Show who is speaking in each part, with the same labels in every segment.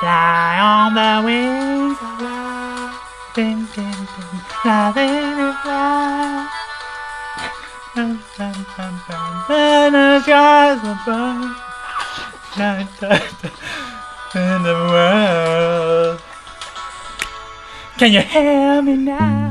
Speaker 1: Fly on the wings of love. Ding, ding, ding. Fly, ding, ding, fly. Dun, dun, dun, dun. Then the skies will burn. Dun, dun, dun. In the world. Can you hear me now?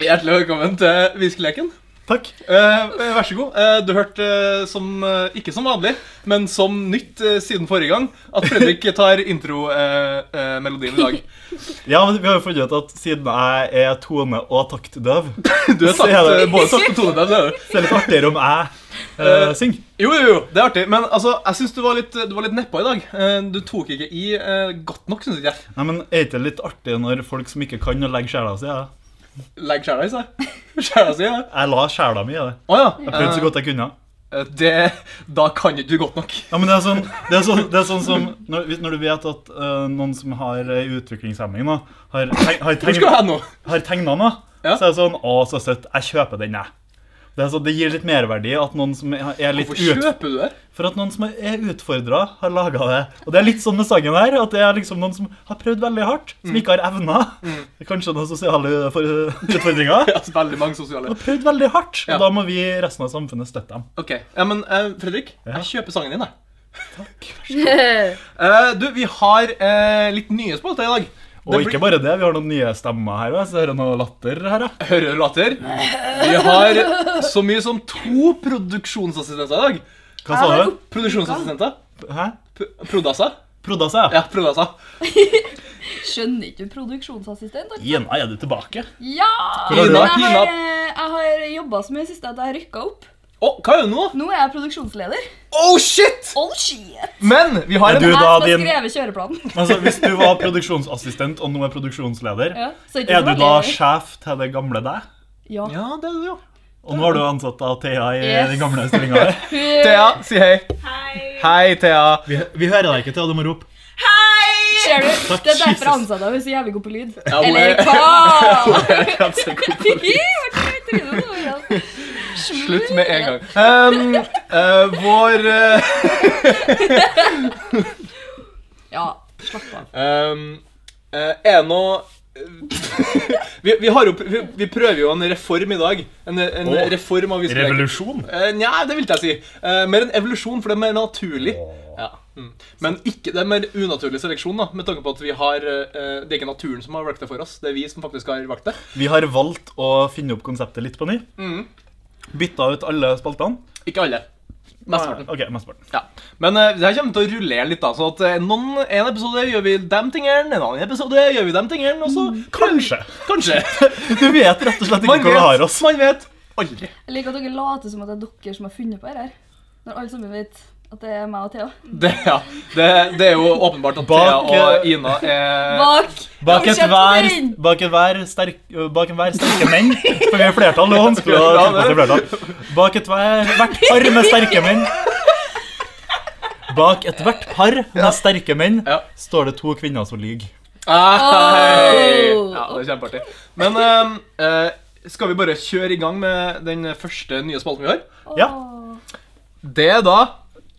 Speaker 2: Hjertelig velkommen til Viskeleken.
Speaker 1: Takk.
Speaker 2: Eh, vær så god. Eh, du hørte eh, som, eh, ikke som vanlig, men som nytt eh, siden forrige gang, at Fredrik tar intromelodien eh, melodien i dag.
Speaker 1: Ja, men vi har jo funnet ut at siden jeg er tone- og taktdøv,
Speaker 2: Du er
Speaker 1: Se
Speaker 2: takt,
Speaker 1: det.
Speaker 2: eh, både takt og tone der. det er du.
Speaker 1: så er det litt artigere om jeg eh, synger.
Speaker 2: Jo, jo, jo, det er artig, men altså, jeg syns du var litt, du var litt nedpå i dag. Eh, du tok ikke i eh, godt nok, syns jeg.
Speaker 1: Nei, men Er ikke det litt artig når folk som ikke kan å legge sjela si? Ja.
Speaker 2: Legg sjela i seg. Sjela si, ja.
Speaker 1: Jeg la sjela mi i det.
Speaker 2: Å ja.
Speaker 1: Jeg prøvde så godt jeg kunne.
Speaker 2: Eh, det, da kan ikke du godt nok.
Speaker 1: Ja, men det er sånn, det er sånn, det er sånn som når, hvis- når du vet at eh, noen som har ei utviklingshemming, da, har, teg, har,
Speaker 2: Hvor skal
Speaker 1: tegn,
Speaker 2: jeg nå?
Speaker 1: har tegna noe,
Speaker 2: Ja.
Speaker 1: så er det sånn Å, så søtt. Jeg kjøper den, jeg. Det, er sånn, det gir litt merverdi at noen som er er litt
Speaker 2: Hvorfor
Speaker 1: ut,
Speaker 2: kjøper du det?
Speaker 1: for at noen som er utfordra, har laga det. Og det er litt sånn med sangen her, at det er liksom noen som har prøvd veldig hardt,
Speaker 2: Mm.
Speaker 1: som ikke har evner. Kanskje noen sosiale for- utfordringer.
Speaker 2: Altså, veldig mange sosiale.
Speaker 1: Har prøvd veldig hardt, og
Speaker 2: Ja.
Speaker 1: da må vi i resten av samfunnet støtte dem.
Speaker 2: Ok, ja, men eh, Fredrik, jeg kjøper sangen din, jeg.
Speaker 3: Hva
Speaker 2: Eh, du, vi har eh, litt nye spalter i dag.
Speaker 1: Og ikke bare det, vi har noen nye stemmer her òg, så hører jeg noe latter her, ja.
Speaker 2: Hører du latter? Vi har så mye som to produksjonsassistenter i dag.
Speaker 1: Hva sa du?
Speaker 2: Produksjonsassistenter.
Speaker 1: Hæ?
Speaker 2: P- Prodassa.
Speaker 1: Prodda seg, ja.
Speaker 2: Ja, prodassa.
Speaker 3: Skjønner ikke du produksjonsassistent? da?
Speaker 1: Ina, er du tilbake?
Speaker 3: Ja!
Speaker 1: Hvor har du
Speaker 3: Men
Speaker 2: vært,
Speaker 3: jeg
Speaker 2: Ina?
Speaker 3: har, eh, jeg har jobba så mye sist at jeg har rykka opp.
Speaker 2: Å, hva gjør du nå?
Speaker 3: Nå er jeg produksjonsleder.
Speaker 2: Oh, shit!
Speaker 3: Oh shit!
Speaker 2: Men vi har
Speaker 1: Er du
Speaker 2: en
Speaker 1: da
Speaker 3: Jeg som har
Speaker 1: din-
Speaker 3: skrevet kjøreplanen.
Speaker 1: Altså, Hvis du var produksjonsassistent og nå er produksjonsleder,
Speaker 3: Ja, så ikke
Speaker 1: er
Speaker 3: så
Speaker 1: du
Speaker 3: veldig-
Speaker 1: da sjef til det gamle deg?
Speaker 3: Ja.
Speaker 2: Ja, det er du, ja.
Speaker 1: Og nå har du ansatt av Thea i
Speaker 3: Yes.
Speaker 1: den gamle stillinga her.
Speaker 3: Hun-
Speaker 2: Thea, si hei. Hei, Thea.
Speaker 1: Vi, vi hører deg ikke, Thea. Du må rope.
Speaker 3: Ser du? Det er
Speaker 1: Jesus.
Speaker 3: derfor ansatte hun er så jævlig god på lyd.
Speaker 2: Ja, hun er-
Speaker 3: Eller hva?
Speaker 2: Slutt
Speaker 3: Slutt
Speaker 2: med en gang. Um, eh, vår eh,
Speaker 3: Ja, slapp av.
Speaker 2: Ehm, eh, er det noe vi, vi, har jo, pr- vi, vi prøver jo en reform i dag. En, en
Speaker 1: Åh,
Speaker 2: reform av viskeleken.
Speaker 1: Revolusjon?
Speaker 2: Eh, Nja, det vil ikke jeg si. Eh, mer en evolusjon, for det er mer naturlig. Ja. Mm. Men ikke, det er mer unaturlig seleksjon, da, med tanke på at vi har eh, Det er ikke naturen som har valgt det for oss, det er vi som faktisk har valgt det.
Speaker 1: Vi har valgt å finne opp konseptet litt på ny.
Speaker 2: Mm.
Speaker 1: Bytta ut alle spaltene.
Speaker 2: Ikke alle. Mesteparten.
Speaker 1: Ok, mesteparten.
Speaker 2: Ja. Men eh, det her kommer til å rullere litt, da. Så at eh, noen, en episode gjør vi dem tingene, en annen episode gjør vi dem tingene, og så
Speaker 1: Mm. Kanskje.
Speaker 2: Kanskje.
Speaker 1: Du vet rett og slett ikke hvor du har oss.
Speaker 2: man vet aldri.
Speaker 3: Jeg liker at dere later som at det er dere som har funnet på dette. her, Når alle sammen vet at det er meg og Thea.
Speaker 2: Det, ja. det, det er jo åpenbart at Thea
Speaker 1: Bak,
Speaker 2: og
Speaker 1: eh,
Speaker 2: Ina er
Speaker 3: Bak!
Speaker 1: Bak
Speaker 3: Kjeft
Speaker 1: enhver
Speaker 3: din!
Speaker 1: bak enhver sterk, øh, bak enhver sterke menn For vi er flertall, det er vanskelig å
Speaker 2: Ja,
Speaker 1: tenke seg flertall. Bak ethver, hvert par med sterke menn Bak ethvert par med sterke menn
Speaker 2: Ja.
Speaker 1: står det to kvinner som lyver.
Speaker 2: Ah, Hei!
Speaker 3: Oh!
Speaker 2: Ja, det er kjempeartig. Men ehm, eh, skal vi bare kjøre i gang med den første nye spalten vi har?
Speaker 1: Ja.
Speaker 3: Åh.
Speaker 2: Det er da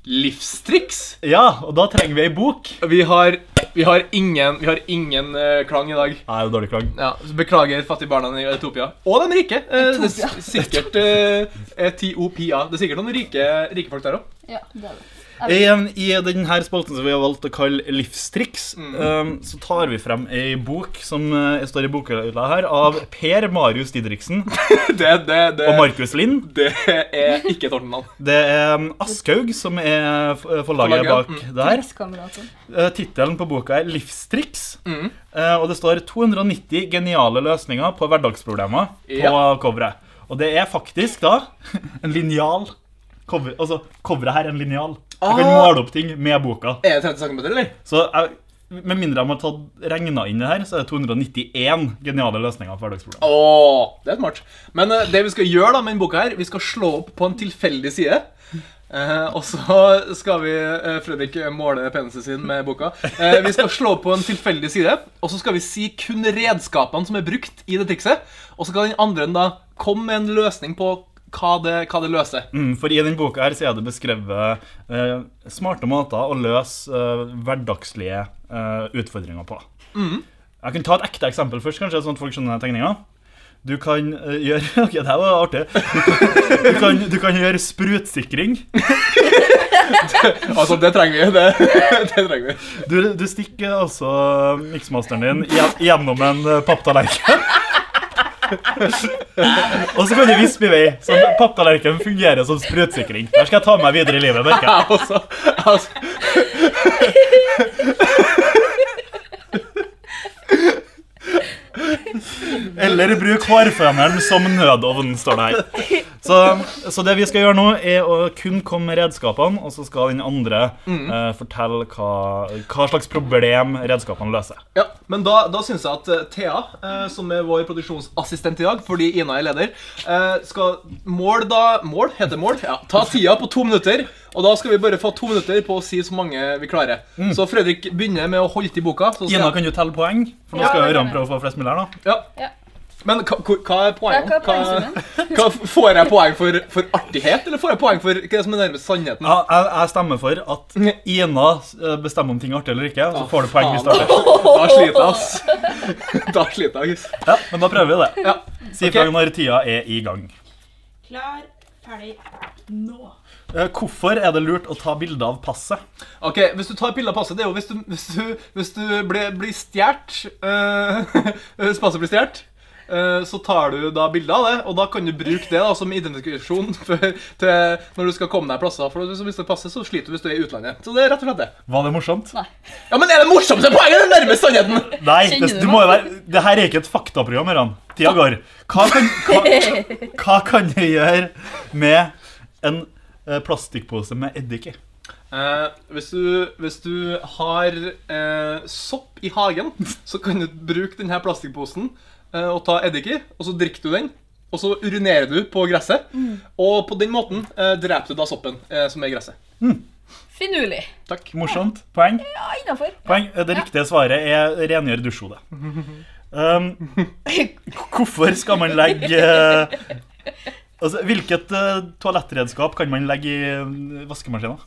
Speaker 2: livstriks.
Speaker 1: Ja, og da trenger vi ei bok.
Speaker 2: Vi har, vi har ingen, vi har ingen eh, klang i dag.
Speaker 1: Nei, det er dårlig klang.
Speaker 2: Ja, så Beklager fattige barna i Etopia. Og de rike. Eh, det er s- sikkert eh, Etiopia. Det er sikkert noen rike, rike folk der òg.
Speaker 3: Ja, det er det.
Speaker 1: Igjen I denne spalten som vi har valgt å kalle Livstriks,
Speaker 2: Mm.
Speaker 1: eh, så tar vi frem ei bok som eh, står i bokhylla her, av Per Marius Didriksen
Speaker 2: Det, det, det,
Speaker 1: og Markus Lind.
Speaker 2: det er ikke et ordentlig navn.
Speaker 1: Det er um, Aschhaug som er f- eh, forlaget
Speaker 2: Forlaget,
Speaker 1: bak det her.
Speaker 3: Krigskameraten.
Speaker 1: Eh, Tittelen på boka er 'Livstriks'.
Speaker 2: Mm.
Speaker 1: eh, Og det står 290 geniale løsninger på hverdagsproblemer
Speaker 2: Ja.
Speaker 1: på coveret. Og det er faktisk da en linjal. Cover, altså, coveret her er en linjal. Jeg kan
Speaker 2: Ah.
Speaker 1: måle opp ting med boka.
Speaker 2: Er det 30 cm, eller?
Speaker 1: Så jeg, med mindre de har tatt regna inn det her, så er det 291 geniale løsninger på hverdagsproblemer.
Speaker 2: Åh, det er smart. Men eh, det vi skal gjøre da med denne boka her, vi skal slå opp på en tilfeldig side. Eh, og så skal vi eh, Fredrik måle penisen sin med boka. Eh, vi skal slå på en tilfeldig side, og så skal vi si kun redskapene som er brukt i det trikset. Og så skal den andre da komme med en løsning på hva det, hva det løser.
Speaker 1: Mm, for i den boka her så er det beskrevet eh, smarte måter å løse eh, hverdagslige eh, utfordringer på. Jeg kan ta et ekte eksempel først, kanskje, sånn at folk skjønner tegninga. Du kan eh, gjøre Ok, det her var artig. Du kan, du kan, du kan gjøre sprutsikring.
Speaker 2: Altså, det trenger vi. Det, det trenger vi.
Speaker 1: Du, du stikker altså miksmasteren din gje- gjennom en eh, papptallerken. og så kan du vispe i vei. Så papptallerken fungerer som sprutsikring. Det her skal jeg ta med meg videre i livet. merker jeg.
Speaker 2: Ja, altså, altså.
Speaker 1: Eller bruk hårføneren som nødovn, står det her. Så, så det vi skal gjøre nå, er å kun komme med redskapene, og så skal den andre eh, fortelle hva, hva slags problem redskapene løser.
Speaker 2: Ja, men da, da syns jeg at eh, Thea, eh, som er vår produksjonsassistent i dag, fordi Ina er leder, eh, skal mål da Mål? Heter det mål? Ja. Ta tida på to minutter. Og da skal vi bare få to minutter på å si så mange vi klarer. Så Fredrik begynner med å holde til boka. Så skal
Speaker 1: Mm. Ina, kan du telle poeng? For nå
Speaker 3: Ja,
Speaker 1: skal jo
Speaker 3: det kan
Speaker 1: Ørjan
Speaker 3: jeg.
Speaker 1: prøve å få flest mulig her, da.
Speaker 2: ja.
Speaker 3: Ja.
Speaker 2: Men hva, hva- hva er
Speaker 3: Ja,
Speaker 2: poenget?
Speaker 3: hva er poengsummen?
Speaker 2: hva, får jeg poeng for, for artighet, eller får jeg poeng for hva som er nærmest sannheten?
Speaker 1: Ja, jeg, jeg stemmer for at Ina eh, bestemmer om ting er artig eller ikke, og så
Speaker 2: Å,
Speaker 1: får du poeng hvis du er
Speaker 2: faen.
Speaker 1: det.
Speaker 2: Da sliter jeg, ass. Da sliter jeg, ass.
Speaker 1: Ja, men da prøver vi det.
Speaker 2: Ja.
Speaker 1: Si
Speaker 2: Ok.
Speaker 1: fra når tida er i gang.
Speaker 4: Klar, ferdig, nå.
Speaker 1: Eh, Hvorfor er det lurt å ta bilde av passet?
Speaker 2: Ok, Hvis du tar piller av passet, det er jo hvis du, hvis du, hvis du blir, blir stjålet Hvis passet blir stjålet, eh, så tar du da bilde av det, og da kan du bruke det da som identifikasjon for, til når du skal komme deg plasser. For hvis du mister passet, så sliter du hvis du er i utlandet. Så det er rett og slett det.
Speaker 1: Var det morsomt?
Speaker 2: Ja, Men er det morsomste poenget? Det er nærmest sannheten!
Speaker 1: Nei, det,
Speaker 3: Kjenner du
Speaker 1: du
Speaker 3: meg?
Speaker 1: må jo være Det her er ikke et faktaprogram, Ørjan. Tida går. Hva kan, hva, hva kan jeg gjøre med en eh, plastikkpose med eddik i?
Speaker 2: Eh, hvis, du, hvis du har eh, sopp i hagen, så kan du bruke denne plastikkposen eh, og ta eddik i, og så drikker du den. Og så urinerer du på gresset, og på den måten eh, dreper du da soppen eh, som er i gresset.
Speaker 3: Finurlig.
Speaker 2: Takk.
Speaker 1: Morsomt. Poeng.
Speaker 3: Ja, innafor.
Speaker 1: Poeng. Eh, Det riktige svaret er rengjør dusjhodet. Um, hvorfor skal man legge eh, Altså, Hvilket eh, toalettredskap kan man legge i eh, vaskemaskinen?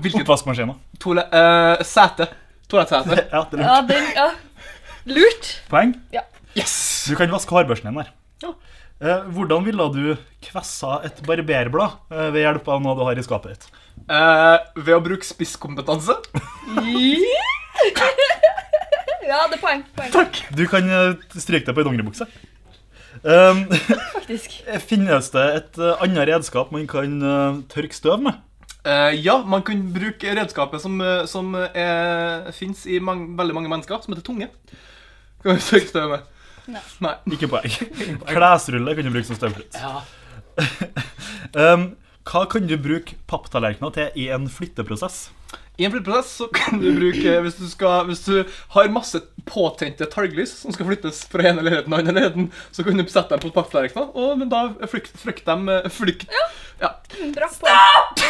Speaker 2: Hvilket
Speaker 1: Oppvaskmaskinen.
Speaker 2: toale... eh, sete. Toalettsete.
Speaker 1: Ja, det er
Speaker 3: Ja,
Speaker 1: lurt.
Speaker 3: den, ja. Lurt.
Speaker 1: Poeng.
Speaker 2: Yes!
Speaker 1: Du kan vaske hårbørsten din der.
Speaker 3: Ja.
Speaker 1: Eh, hvordan ville du kvessa et barberblad eh, ved hjelp av noe du har i skapet ditt?
Speaker 2: Eh, ved å bruke spisskompetanse.
Speaker 3: Ja, det er poeng. poeng
Speaker 1: Du kan eh, stryke deg på ei dongeribukse. Um,
Speaker 3: faktisk.
Speaker 1: finnes det et eh, annet redskap man kan eh, tørke støv med?
Speaker 2: Eh, ja, man kan bruke redskapet som, eh, som eh, fins i mang veldig mange mennesker, som heter tunge. Kan du trykke støv med?
Speaker 3: Nei.
Speaker 2: Nei.
Speaker 1: Ikke poeng. Klesrulle kan du bruke som støvklut.
Speaker 2: Ja.
Speaker 1: Um, hva kan du bruke papptallerkener til i en flytteprosess?
Speaker 2: I en flytteprosess så kan du bruke Hvis du, skal, hvis du har masse påtente talglys som skal flyttes fra ene leiligheten til den andre leiligheten, så kan du sette dem på papptallerkener, og men da flykt, flykt dem eh, flykt. Ja.
Speaker 3: Bra Stopp!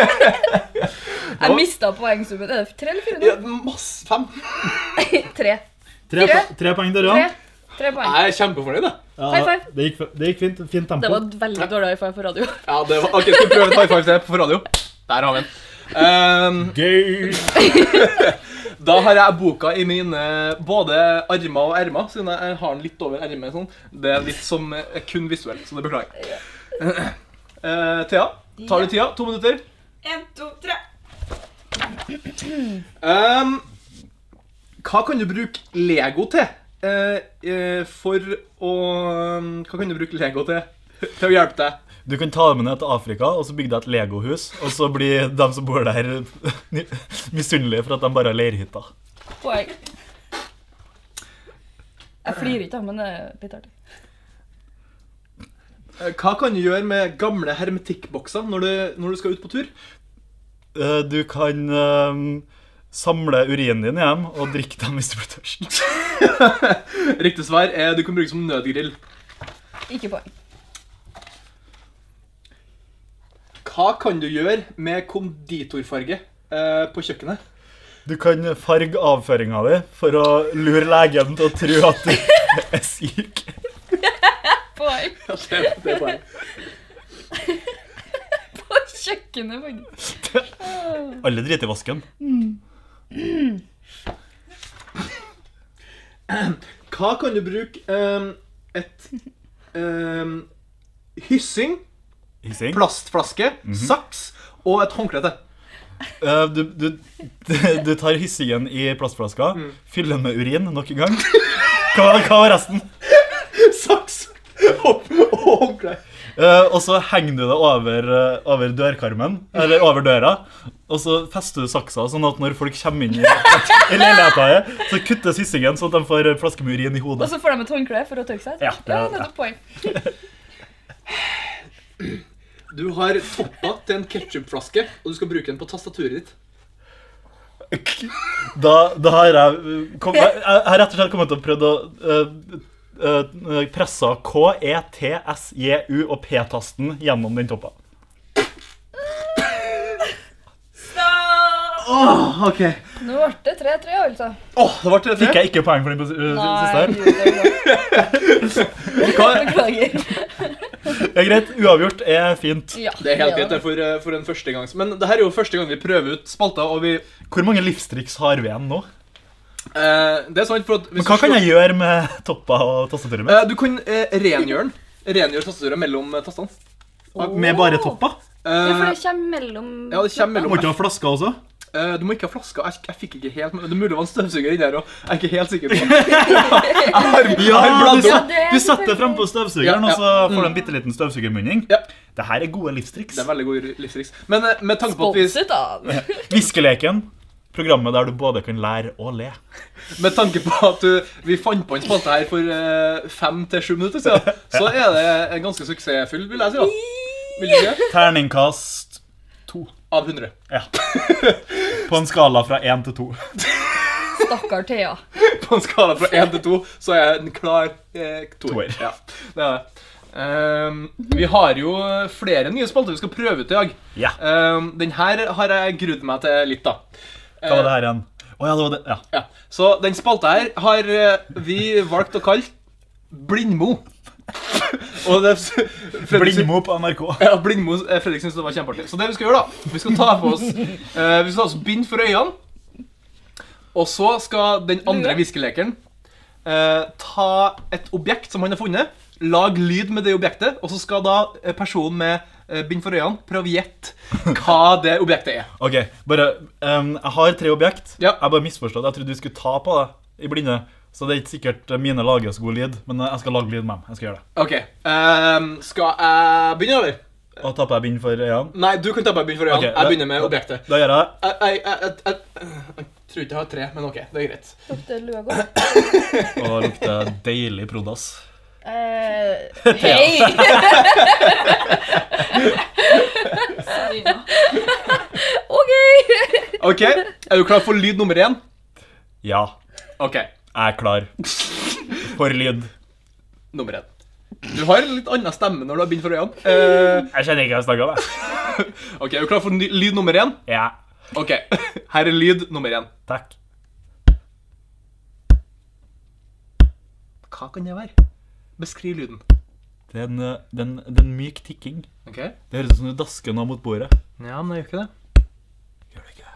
Speaker 3: Jeg mista poengsummen. Er det tre eller fire?
Speaker 2: ja. Masse fem.
Speaker 3: nå? Tre.
Speaker 1: Tre,
Speaker 3: Tre.
Speaker 1: po- tre poeng der,
Speaker 3: Tre.
Speaker 1: ja.
Speaker 3: Tre poeng.
Speaker 2: Jeg er kjempefornøyd, jeg.
Speaker 3: High five.
Speaker 1: Det gikk, det gikk fint. Fint tempo.
Speaker 3: Det var et veldig dårlig high five på radio.
Speaker 2: Ja, det var, ok, skal vi prøve et high five til på radio? Der har vi den. Ehm,
Speaker 1: Gøy.
Speaker 2: da har jeg boka i mine både armer og ermer, siden jeg har den litt over ermet. Sånn. Det er litt som eh, kun visuelt, så det beklager jeg. Eh, Thea, tar du tida? To minutter?
Speaker 4: En, to, tre.
Speaker 2: Ehm, hva kan du bruke Lego til? Eh, eh, for å ehm, Hva kan du bruke Lego til? Til å hjelpe deg.
Speaker 1: Du kan ta dem ned til Afrika og så bygge deg et legohus, og så blir de som bor der, misunnelige for at de bare har leirhytta.
Speaker 3: Poeng. Jeg flirer ikke, da, men det er litt artig.
Speaker 2: Eh, Hva kan du gjøre med gamle hermetikkbokser når du, når du skal ut på tur?
Speaker 1: Eh, Du kan eh, samle urinen din hjem og drikke dem hvis du blir tørst.
Speaker 2: Riktig svar er du kan bruke som nødgrill.
Speaker 3: Ikke poeng.
Speaker 2: Hva Hva kan du gjøre med konditorfarge eh, på kjøkkenet?
Speaker 1: Du kan farge avføringa di for å lure legen til å tro at du er syk.
Speaker 3: Poeng
Speaker 2: Ja, det, det er bare.
Speaker 3: på kjøkkenet, faktisk.
Speaker 1: Alle driter i vasken.
Speaker 2: Hva kan du bruke eh, et eh, hyssing,
Speaker 1: Hissing.
Speaker 2: plastflaske, saks og et håndkle til?
Speaker 1: Eh, du, du, du tar hyssingen i plastflaska, fyller den med urin nok en gang. Hva, hva var resten?
Speaker 2: Saks og og håndkle.
Speaker 1: Eh, og så henger du det over, eh, over dørkarmen, eller over døra, og så fester du saksa, sånn at når folk kommer inn i, i leiligheta di, så kuttes hyssingen, sånn at de får flaske med urin i
Speaker 3: Og
Speaker 1: hodet.
Speaker 3: så får de et håndkle for å tørke seg.
Speaker 1: Ja, det er-
Speaker 3: nettopp poeng.
Speaker 2: Du har toppa til en ketsjupflaske, og du skal bruke den på tastaturet ditt.
Speaker 1: Da, da har jeg, eh, kom, jeg, jeg har rett og slett kommet til å prøve å eh, eh, presse K, E, T, S, J, U og P-tasten gjennom den toppa.
Speaker 4: Stopp!
Speaker 2: Åh, Ah, ok.
Speaker 3: Nå ble det 3-3, altså.
Speaker 2: Åh, det ble
Speaker 1: Fikk
Speaker 2: 3-3.
Speaker 1: jeg ikke poeng for den på s- eh, siste her?
Speaker 3: Nei,
Speaker 2: Hva-
Speaker 3: beklager.
Speaker 1: Det er greit. Uavgjort er fint.
Speaker 3: Ja,
Speaker 2: Det er helt greit
Speaker 3: da.
Speaker 2: det er for, eh, for en førstegangs. Men det her er jo første gang vi prøver ut spalta, og vi
Speaker 1: Hvor mange livstriks har vi igjen nå?
Speaker 2: eh, Det er sant, for at
Speaker 1: Men hva kan jeg gjøre med toppa og tastaturet mitt?
Speaker 2: Eh, du kan eh, rengjøre den. Rengjøre tastaturet mellom eh, tastene.
Speaker 1: Med bare toppa?
Speaker 3: Ja, for
Speaker 2: Eh,
Speaker 3: det kommer mellom
Speaker 2: ja, det kommer mellom
Speaker 1: Må ikke ha flaska også?
Speaker 2: Eh, Du må ikke ha flaska. Jeg, jeg fikk ikke helt med Det er mulig det var en støvsuger inni her òg. Jeg er ikke helt sikker. på det. Jeg har, jeg har bladd
Speaker 1: du,
Speaker 2: om.
Speaker 3: Ja, det er
Speaker 1: du setter frem på støvsugeren,
Speaker 2: Ja,
Speaker 1: og
Speaker 2: ja.
Speaker 1: så får du en bitte liten støvsugermunning.
Speaker 2: Ja.
Speaker 1: Det her er gode livstriks.
Speaker 2: Det er veldig god livsriks. Men eh, med tanke på at vi
Speaker 3: Sponset av.
Speaker 1: Viskeleken. Programmet der du både kan lære og le.
Speaker 2: Med tanke på at du, vi fant på en spalte her for eh, fem til sju minutter siden, så er det en ganske suksessfull, vil jeg si. da. Vil du ikke?
Speaker 1: Terningkast to.
Speaker 2: Av 100.
Speaker 1: Ja. På en skala fra én til to.
Speaker 3: Stakkar Thea.
Speaker 2: På en skala fra én til to, så er jeg en klar eh, toer.
Speaker 1: Toer.
Speaker 2: Ja, det er det. Ehm, vi har jo flere nye spalter vi skal prøve ut i dag.
Speaker 1: Ja.
Speaker 2: Um, den her har jeg grudd meg til litt, da. Eh,
Speaker 1: Hva var det her igjen? Å ja, det var det. Ja.
Speaker 2: Ja. Så den spalta her har eh, vi valgt å kalle Blindmo. Og det Fredrik-
Speaker 1: Blindmo på NRK.
Speaker 2: Ja, Blindmo eh, Fredrik syntes det var kjempeartig. Så det vi skal gjøre, da Vi skal ta på oss eh, Vi skal ta oss bind for øynene. Og så skal den andre
Speaker 3: Lue.
Speaker 2: viskelekeren eh, ta et objekt som han har funnet, lage lyd med det objektet, og så skal da eh, personen med eh, bind for øynene prøve å gjette hva det objektet er.
Speaker 1: Ok, bare ehm, Jeg har tre objekt.
Speaker 2: Ja.
Speaker 1: Jeg bare misforstått. Jeg trodde du skulle ta på det i blinde. Så det er ikke sikkert mine lager så god lyd, men jeg skal lage lyd med dem. Jeg skal gjøre det.
Speaker 2: OK. ehm, skal jeg begynne, eller?
Speaker 1: Og tapper jeg bind for øynene.
Speaker 2: Nei, du kan ta bare begynne for øynene.
Speaker 1: Ok,
Speaker 2: jeg
Speaker 1: da-
Speaker 2: begynner med objektet.
Speaker 1: Da gjør jeg det.
Speaker 2: Jeg, jeg, jeg, jeg, jeg, jeg tror ikke jeg har tre, men OK, det er greit.
Speaker 3: Lukter lua godt?
Speaker 1: Og det lukter deilig prodas.
Speaker 3: Eh, hei! OK!
Speaker 2: OK, Er du klar for lyd nummer én?
Speaker 1: Ja,
Speaker 2: OK.
Speaker 1: jeg er klar. For lyd.
Speaker 2: nummer én. Du har en litt annen stemme når du har bind for øynene. Eh,
Speaker 1: Jeg kjenner ikke hva jeg snakker om. jeg.
Speaker 2: ok, Er du klar for ny- lyd nummer én?
Speaker 1: Ja,
Speaker 2: Ok, Her er lyd nummer én.
Speaker 1: takk.
Speaker 2: Hva kan det være? Beskriv lyden.
Speaker 1: Det er en, eh, det er en- det er en myk tikking.
Speaker 2: Ok?
Speaker 1: Det høres ut som du dasker noe mot bordet.
Speaker 2: Ja, men det gjør ikke det.
Speaker 1: Gjør det ikke det?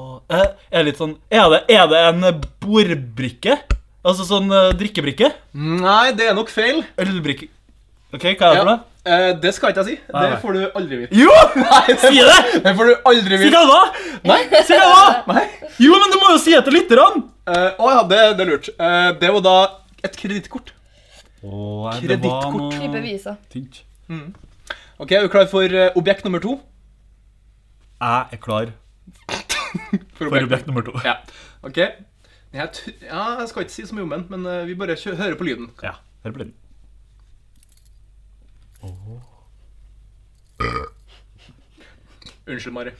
Speaker 1: Og, eh, er det litt sånn Er det, er det en eh, bordbrikke? Altså sånn eh, drikkebrikke?
Speaker 2: Nei, det er nok feil.
Speaker 1: Ølbrikke OK, hva er det for noe?
Speaker 2: Eh, det skal ikke jeg si.
Speaker 1: Nei,
Speaker 2: Det
Speaker 1: nei.
Speaker 2: får du aldri vite.
Speaker 1: Jo!
Speaker 2: Nei,
Speaker 1: Si det!
Speaker 2: Det får du aldri
Speaker 1: Si
Speaker 2: vite.
Speaker 1: hva det var!
Speaker 2: Nei.
Speaker 1: Si hva det var!
Speaker 2: Nei.
Speaker 1: Jo, men du må jo si det til lytterne!
Speaker 2: Eh, Å ja, det, det er lurt. Eh, det var da et kredittkort.
Speaker 1: Åh,
Speaker 2: det var noe-
Speaker 3: Type visa.
Speaker 1: Tynt.
Speaker 2: Ok, Er du klar for eh, objekt nummer to?
Speaker 1: Jeg er klar for objekt nummer to.
Speaker 2: Ja. Ok. Den her tr- ja, jeg skal ikke si så mye om den, men eh, vi bare kjø hører på lyden.
Speaker 1: Ja, hør på den.
Speaker 2: Unnskyld, Mari.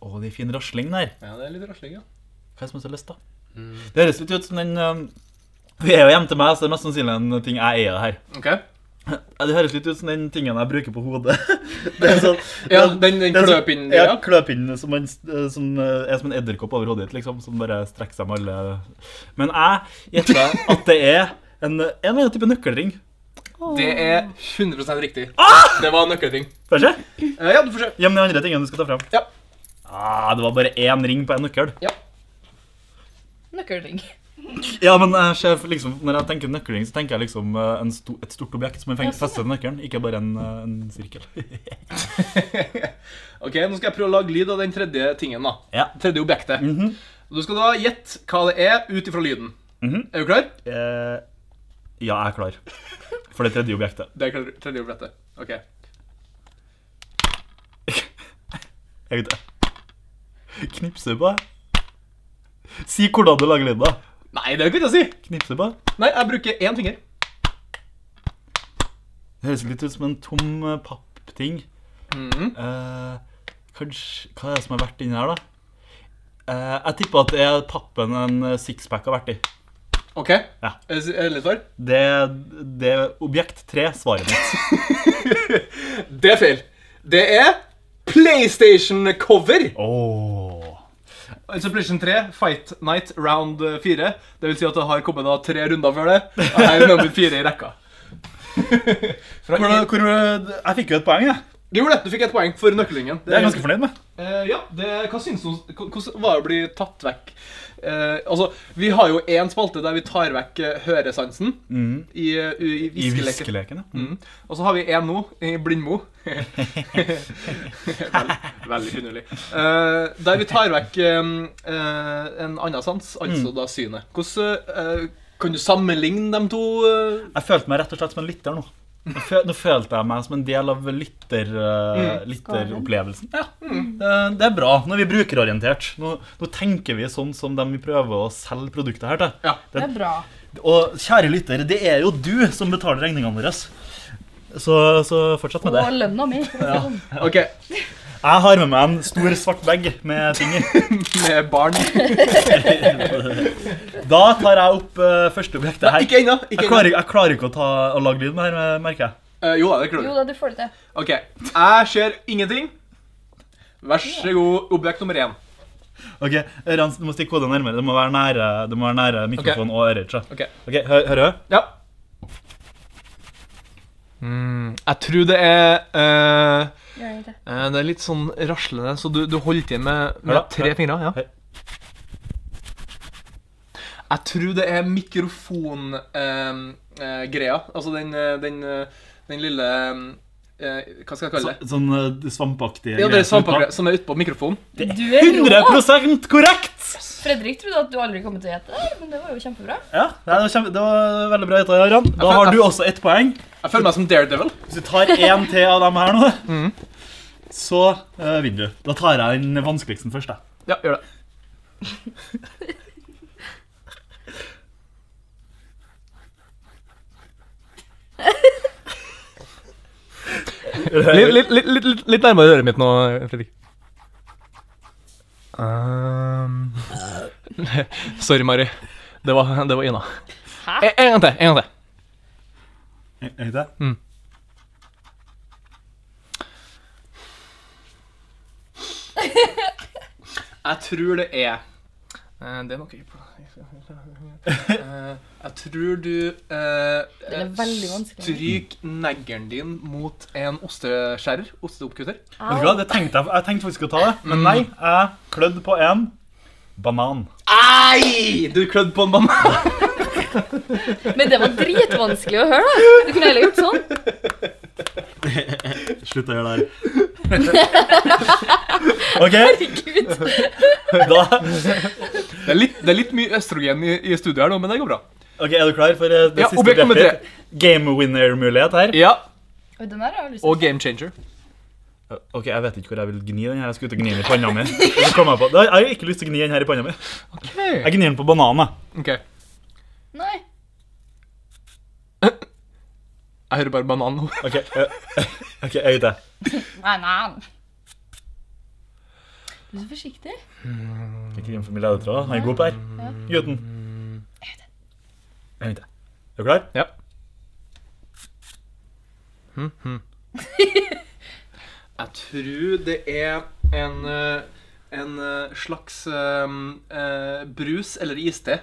Speaker 1: Å, det er fin rasling der.
Speaker 2: Ja, det er litt rasling, ja. Mm.
Speaker 1: Hva er det som er så lyst, da? Det høres litt ut som den um, Hun er jo hjemme til meg, så det er mest sannsynlig en ting jeg eier her.
Speaker 2: Ok.
Speaker 1: Ja, Det høres litt ut som den tingen jeg bruker på hodet. Det er sånn,
Speaker 2: Ja, den, den
Speaker 1: det er sånn-
Speaker 2: kløpinnen
Speaker 1: Ja,
Speaker 2: ja.
Speaker 1: kløpinnen som, man, som eh, er som en edderkopp over hodet ditt, liksom. Som bare strekker seg med alle Men jeg gjetter at det er en, en eller annen type nøkkelring.
Speaker 2: Det er 100 riktig.
Speaker 1: Ah!
Speaker 2: Det var nøkkelting.
Speaker 1: Får jeg se?
Speaker 2: Eh, Ja, du får se.
Speaker 1: Gjem de andre tingene du skal ta fram.
Speaker 2: Ja.
Speaker 1: Ah, det var bare én ring på én nøkkel.
Speaker 3: Nøkkelring.
Speaker 1: Ja, men eh, sjef, liksom, når jeg tenker nøkkelring, så tenker jeg liksom eh, en sto, et stort objekt som er feng- festet til nøkkelen, ikke bare en, eh, en sirkel.
Speaker 2: Ok, Nå skal jeg prøve å lage lyd av den tredje tingen. da.
Speaker 1: Ja.
Speaker 2: Tredje objektet.
Speaker 1: Mhm.
Speaker 2: Du skal da gjette hva det er, ut ifra lyden.
Speaker 1: Mhm.
Speaker 2: Er du klar?
Speaker 1: Eh, ja, jeg er klar. For det tredje objektet.
Speaker 2: Det er klar- tredje objektet. Ok.
Speaker 1: Jeg vet det. Knipse på deg. Si hvordan du lager lyd, da.
Speaker 2: Nei, det kan jeg ikke si.
Speaker 1: Knipse på deg.
Speaker 2: Nei, jeg bruker én finger.
Speaker 1: Det høres litt ut som en tom eh, pappting.
Speaker 2: Mhm.
Speaker 1: Eh, kanskje Hva er det som har vært inni her, da? Eh, jeg tipper at det er pappen en eh, sixpack har vært i.
Speaker 2: Ok.
Speaker 1: Ja.
Speaker 2: Er det- er det litt svar?
Speaker 1: Det, det er objekt tre, svaret mitt.
Speaker 2: Det er feil. Det er PlayStation-cover.
Speaker 1: Åh.
Speaker 2: Altså PlayStation 3, Fight Night round eh, 4. Det vil si at det har kommet da tre runder før det. Og her er nummer fire i rekka. Fra
Speaker 1: Hvordan- hvor, eh, jeg fikk jo et poeng, jeg.
Speaker 2: Du gjorde det. Du fikk et poeng for nøkkelringen.
Speaker 1: Det er jeg ganske fornøyd med.
Speaker 2: Eh, ja, det, hva syns du om- hva- Hvordan var det å bli tatt vekk? Eh, altså, Vi har jo én spalte der vi tar vekk eh, høresansen
Speaker 1: Mhm.
Speaker 2: i, eh, i, i
Speaker 1: I
Speaker 2: viskeleken.
Speaker 1: viskeleken, ja.
Speaker 2: Mm. Og så har vi én nå, i Blindmo. Vel, veldig finurlig. Eh, der vi tar vekk eh, eh, en annen sans, altså da synet. Hvordan eh, Kan du sammenligne de to? eh?
Speaker 1: Jeg følte meg rett og slett som en lytter nå. Nå fø- Nå følte jeg meg som en del av lytter, eh, lytteropplevelsen. Ja, det, det er bra. Nå er vi brukerorientert. Nå, nå tenker vi sånn som dem vi prøver å selge produktet her til.
Speaker 2: Ja.
Speaker 3: Det er bra.
Speaker 1: Og kjære lytter, det er jo du som betaler regningene våre. Så, så fortsett med det.
Speaker 3: Og lønna mi. for å si det sånn.
Speaker 2: OK.
Speaker 1: Jeg har med meg en stor svart bag med ting i.
Speaker 2: Med barn.
Speaker 1: Da tar jeg opp eh, første objektet her.
Speaker 2: Ikke ennå. Ikke
Speaker 1: Jeg
Speaker 2: ennå.
Speaker 1: klarer, jeg klarer ikke å, ta, å lage lyd med det her, merker jeg.
Speaker 2: Eh, jo da, det klarer du.
Speaker 3: Jo da, du får det til.
Speaker 2: Ok, jeg ser ingenting. Vær så god, objekt nummer én.
Speaker 1: Ok, Rans, Du må stikke hodet nærmere. Det må være nære, det må være nære mikrofonen og øret. ikke sant?
Speaker 2: Ok.
Speaker 1: Ok, hø Hører du?
Speaker 2: Ja. Mm, jeg tror det er eh,
Speaker 3: Gjør det til.
Speaker 2: eh, Det er litt sånn raslende, så du, du holder til med,
Speaker 1: Hør da,
Speaker 2: med tre
Speaker 1: hør.
Speaker 2: fingre. Ja.
Speaker 1: Hør.
Speaker 2: Jeg tror det er mikrofongreia. altså den, eh, den, eh, den lille eh, Hva skal jeg kalle det?
Speaker 1: Så, sånn eh, svampaktige
Speaker 2: Ja, det er
Speaker 1: som er
Speaker 2: svampegreia som er utpå mikrofonen.
Speaker 3: Du er
Speaker 1: utpå.
Speaker 3: rå!
Speaker 1: 100 korrekt!
Speaker 3: Fredrik trodde at du aldri kom til å gjette det, her, men det var jo kjempebra.
Speaker 1: Ja, det var, kjempe, det var veldig bra gjetta, Jan. Da har du også ett poeng.
Speaker 2: Jeg føler meg som Daredevil.
Speaker 1: Hvis du tar én til av dem her nå,
Speaker 2: Mm.
Speaker 1: så eh, vinner du. Da tar jeg den vanskeligsten først. Jeg.
Speaker 2: Ja, gjør det. Litt, litt, litt, litt, litt- litt nærmere øret mitt nå, Fredrik. Um. Sorry, Mari. Det var, det var Ina.
Speaker 3: Hæ?
Speaker 2: En, en gang til. en gang til.
Speaker 1: Er det ikke det?
Speaker 2: Jeg tror det er Eh, Det er nok ikke Eh, Jeg tror du eh,
Speaker 3: Den er veldig vanskelig.
Speaker 2: Stryk neggeren din mot en osteskjærer. Osteoppkutter.
Speaker 1: Vet du hva? Det tenkte jeg, jeg tenkte faktisk å ta det, men nei. Jeg klødde på en banan.
Speaker 2: Ei! Du klødde på en banan.
Speaker 3: Men det var dritvanskelig å høre, da. Du kunne heller gjort sånn.
Speaker 1: Slutt å gjøre det her. OK,
Speaker 3: Herregud.
Speaker 1: da
Speaker 2: Det er litt, det er litt mye østrogen i, i studioet her nå, men det går bra.
Speaker 1: Ok, Er du klar for eh, det
Speaker 2: Ja,
Speaker 1: siste
Speaker 2: objekt nummer
Speaker 1: objektet? Game winner-mulighet her.
Speaker 2: Ja,
Speaker 3: Oi, Den her har jeg lyst til.
Speaker 2: Og game changer.
Speaker 1: Ok, Jeg vet ikke hvor jeg vil gni den. her Jeg skulle ut og gni den i panna mi. Og så kom Jeg på Da har jeg ikke lyst til å gni den her i panna mi. Jeg gnir den på bananen. jeg.
Speaker 2: Ok,
Speaker 3: Nei.
Speaker 2: Jeg hører bare banan nå.
Speaker 1: Ok, eh, ok, jeg vet det.
Speaker 3: Nei, nei. Du er så forsiktig.
Speaker 1: Jeg gni den for min ledetråd. Han er god på her. Gutten. Jeg venter. Er du klar?
Speaker 2: Ja. Jeg tror det er en, eh, en eh, slags eh, eh, brus eller iste.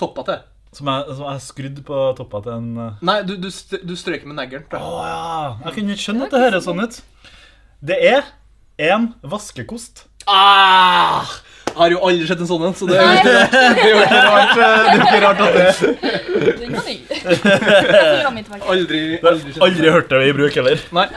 Speaker 2: Toppa til.
Speaker 1: Som jeg, som jeg skrudd på toppen til en eh,
Speaker 2: Nei, du, du, st- du strøyker med neglen. tror
Speaker 1: Å
Speaker 2: jeg.
Speaker 1: ja! Jeg kunne ikke skjønne at det høres sånn ut. Det er en vaskekost.
Speaker 2: Ah! Jeg har jo aldri sett en sånn en, så det er jo ikke rart- det er jo ikke rart, eh, det er jo ikke rart at det
Speaker 3: Den var ny. Så la meg tilbake.
Speaker 2: Aldri, aldri, sett en
Speaker 1: Aldri
Speaker 2: sånn.
Speaker 1: hørt det i bruk heller.
Speaker 2: Nei.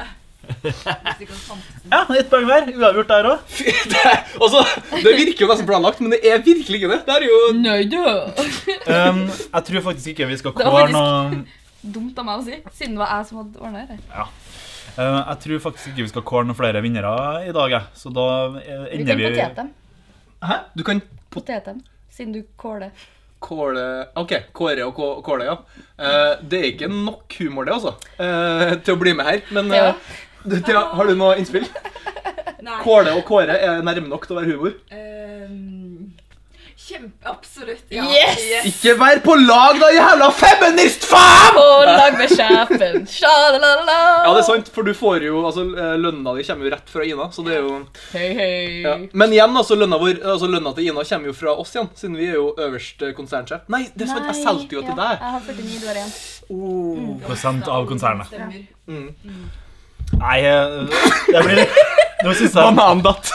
Speaker 1: Ja, ett poeng hver. Uavgjort der òg.
Speaker 2: Altså, det virker jo nesten planlagt, men det er virkelig ikke det. Det er jo
Speaker 3: Nei du!
Speaker 1: Um, jeg tror faktisk ikke vi skal
Speaker 3: Det
Speaker 1: kåre
Speaker 3: var faktisk-
Speaker 1: noe
Speaker 3: Dumt av meg å si, siden det var jeg som hadde ordna det.
Speaker 1: Eh, Jeg tror faktisk ikke vi skal kåre noen flere vinnere i dag, jeg. Så da eh,
Speaker 3: Vi
Speaker 1: ender
Speaker 3: kan
Speaker 1: vi
Speaker 3: potete dem.
Speaker 2: Hæ? Du kan
Speaker 3: Potete dem. Siden du kåler.
Speaker 2: Kåle OK, Kåre og Kå- Kåle, ja. Eh, det er ikke nok humor, det, altså, eh, til å bli med her. Men eh,
Speaker 3: Ja.
Speaker 2: du, Thea, har du noe innspill?
Speaker 4: Nei.
Speaker 2: Kåle og Kåre er nærme nok til å være humor.
Speaker 4: Ehm, kjempe... Absolutt. Ja.
Speaker 3: Yes!
Speaker 2: Ikke vær på lag, da, jævla feminist, faen!
Speaker 3: På lag med sjefen. Sjalalala.
Speaker 2: Ja, det er sant, for du får jo altså, eh, lønna di kommer jo rett fra Ina, så det er jo
Speaker 3: Hei, hei.
Speaker 2: ja. Men igjen, altså, lønna, vår, altså, lønna til Ina kommer jo fra oss igjen, siden vi er jo øverste konsernsjef. Nei, det er sant, jeg solgte jo til
Speaker 3: ja,
Speaker 2: deg.
Speaker 3: Jeg har 49, du har én.
Speaker 2: Oh.
Speaker 1: prosent av konsernet.
Speaker 4: Stemmer.
Speaker 2: Mm.
Speaker 1: Nei, eh, det blir Nå syns jeg,
Speaker 2: Banandatt.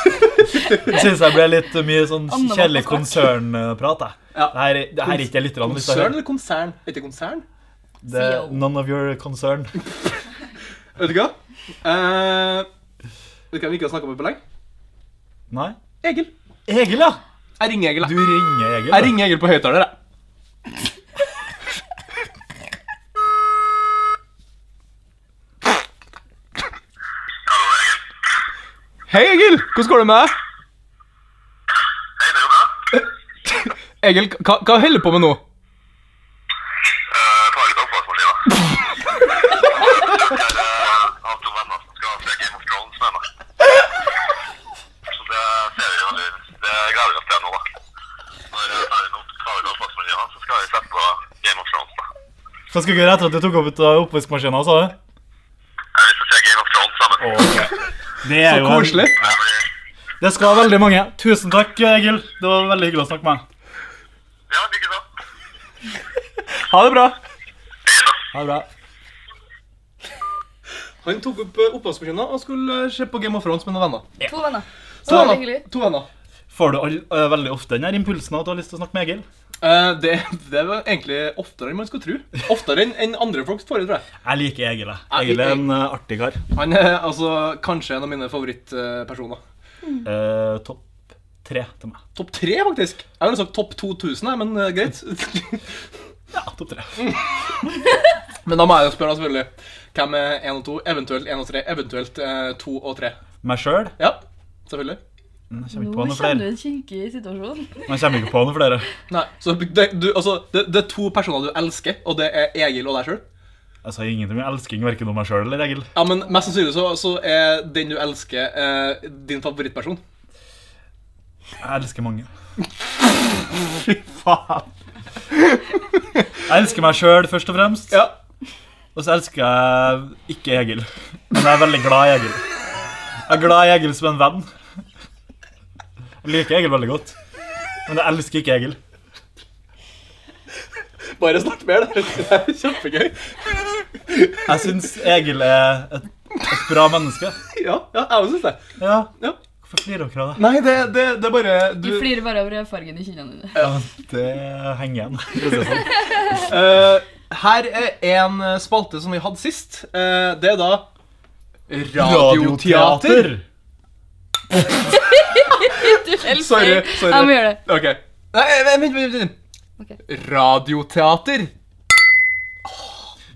Speaker 1: synes jeg ble litt mye sånn
Speaker 3: Anna
Speaker 1: kjedelig
Speaker 3: Matta
Speaker 1: konsernprat, jeg.
Speaker 2: Ja.
Speaker 1: Det her, det her er ikke jeg litt rann, hvis jeg
Speaker 2: Konsern eller konsern? Heter det konsern?
Speaker 1: Det er none of your concern.
Speaker 2: Vet du hva? Eh, vet du hva vi ikke har snakka med på lenge?
Speaker 1: Nei?
Speaker 2: Egil.
Speaker 1: Egil, ja!
Speaker 2: Jeg ringer Egil.
Speaker 1: Du
Speaker 2: jeg.
Speaker 1: ringer Egil.
Speaker 2: Jeg
Speaker 1: da.
Speaker 2: ringer Egil på høyttaler, jeg. Hei, Egil! Hvordan går det med deg?
Speaker 5: Hei, det går bra.
Speaker 2: Egil, hva, hva holder du på med nå?
Speaker 5: Eh, tar litt oppvaskmaskina. Jeg eh, har to venner som skal se Game of Thrones med meg. Så det ser vi jo nå. Det gleder vi oss til nå, da. Når eh, jeg er ferdig med å ta ut oppvaskmaskina, så skal vi sette på Game of Thrones, da.
Speaker 1: Så skal vi gjøre etter at du tok opp ut av oppvaskmaskinen, sa du?
Speaker 5: Jeg har lyst til å se Game of Thrones sammen.
Speaker 1: Det er jo en-
Speaker 2: Koselig.
Speaker 5: Det blir...
Speaker 1: Det skal veldig mange. Tusen takk, Egil. Det var veldig hyggelig å snakke med deg.
Speaker 5: Ja, like så.
Speaker 2: Ha det bra.
Speaker 1: Ha det bra.
Speaker 2: Han tok opp eh, oppvaskmaskinen og skulle eh, se på Game of Thrones med noen venner.
Speaker 3: To venner.
Speaker 2: To
Speaker 3: Så
Speaker 2: venner.
Speaker 3: hyggelig.
Speaker 2: To venner.
Speaker 1: Får du all, eh, veldig ofte den her impulsen av at du har lyst til å snakke med Egil?
Speaker 2: Eh, det, det var egentlig oftere enn man skulle tro. Oftere enn enn andre folk får, tror jeg.
Speaker 1: Jeg liker Egil. jeg.
Speaker 2: Jeg-
Speaker 1: Egil er en eh, artig kar.
Speaker 2: Han er altså kanskje en av mine favorittpersoner.
Speaker 1: Eh, topp tre til meg.
Speaker 2: Topp tre, faktisk. Jeg ville sagt topp 2000, jeg, men eh, greit.
Speaker 1: Ja, topp tre.
Speaker 2: men da må jeg jo spørre, da, selvfølgelig. Hvem er én og to? Eventuelt én og tre. Eventuelt eh, to og tre.
Speaker 1: Meg sjøl?
Speaker 2: Ja, selvfølgelig.
Speaker 1: Jeg kommer
Speaker 3: Nå
Speaker 1: ikke på noe
Speaker 3: kommer du
Speaker 1: flere.
Speaker 3: i en kinkig situasjon.
Speaker 1: Jeg kommer ikke på noe flere.
Speaker 2: Nei, så det, du, altså, det, det er to personer du elsker, og det er Egil og deg sjøl.
Speaker 1: Altså, Jeg sa ingenting om elsking, verken om meg sjøl eller Egil.
Speaker 2: Ja, men mest sannsynlig så, så er den du elsker, eh, din favorittperson.
Speaker 1: Jeg elsker mange.
Speaker 2: Fy faen.
Speaker 1: Jeg elsker meg sjøl først og fremst,
Speaker 2: Ja.
Speaker 1: og så elsker jeg ikke Egil. Men jeg er veldig glad i Egil. Jeg er glad i Egil som en venn. Jeg liker Egil veldig godt, men jeg elsker ikke Egil.
Speaker 2: Bare snakk mer, det er kjempegøy.
Speaker 1: Jeg syns Egil er et, et bra menneske.
Speaker 2: Ja, ja jeg òg syns det.
Speaker 1: Ja.
Speaker 2: Ja.
Speaker 1: Hvorfor flirer dere av det?
Speaker 2: Nei, det, det, det er bare
Speaker 3: Du flirer bare av rødfargen i kinnene dine.
Speaker 1: Ja, det henger igjen. for å si det sånn.
Speaker 2: Eh, her er en spalte som vi hadde sist. Eh, det er da Radioteater.
Speaker 3: Du elsker.
Speaker 2: Sorry, sorry.
Speaker 3: Jeg må gjøre det.
Speaker 2: OK. Nei, eh, vent, vent. vent, vent.
Speaker 3: Ok.
Speaker 2: Radioteater. Åh,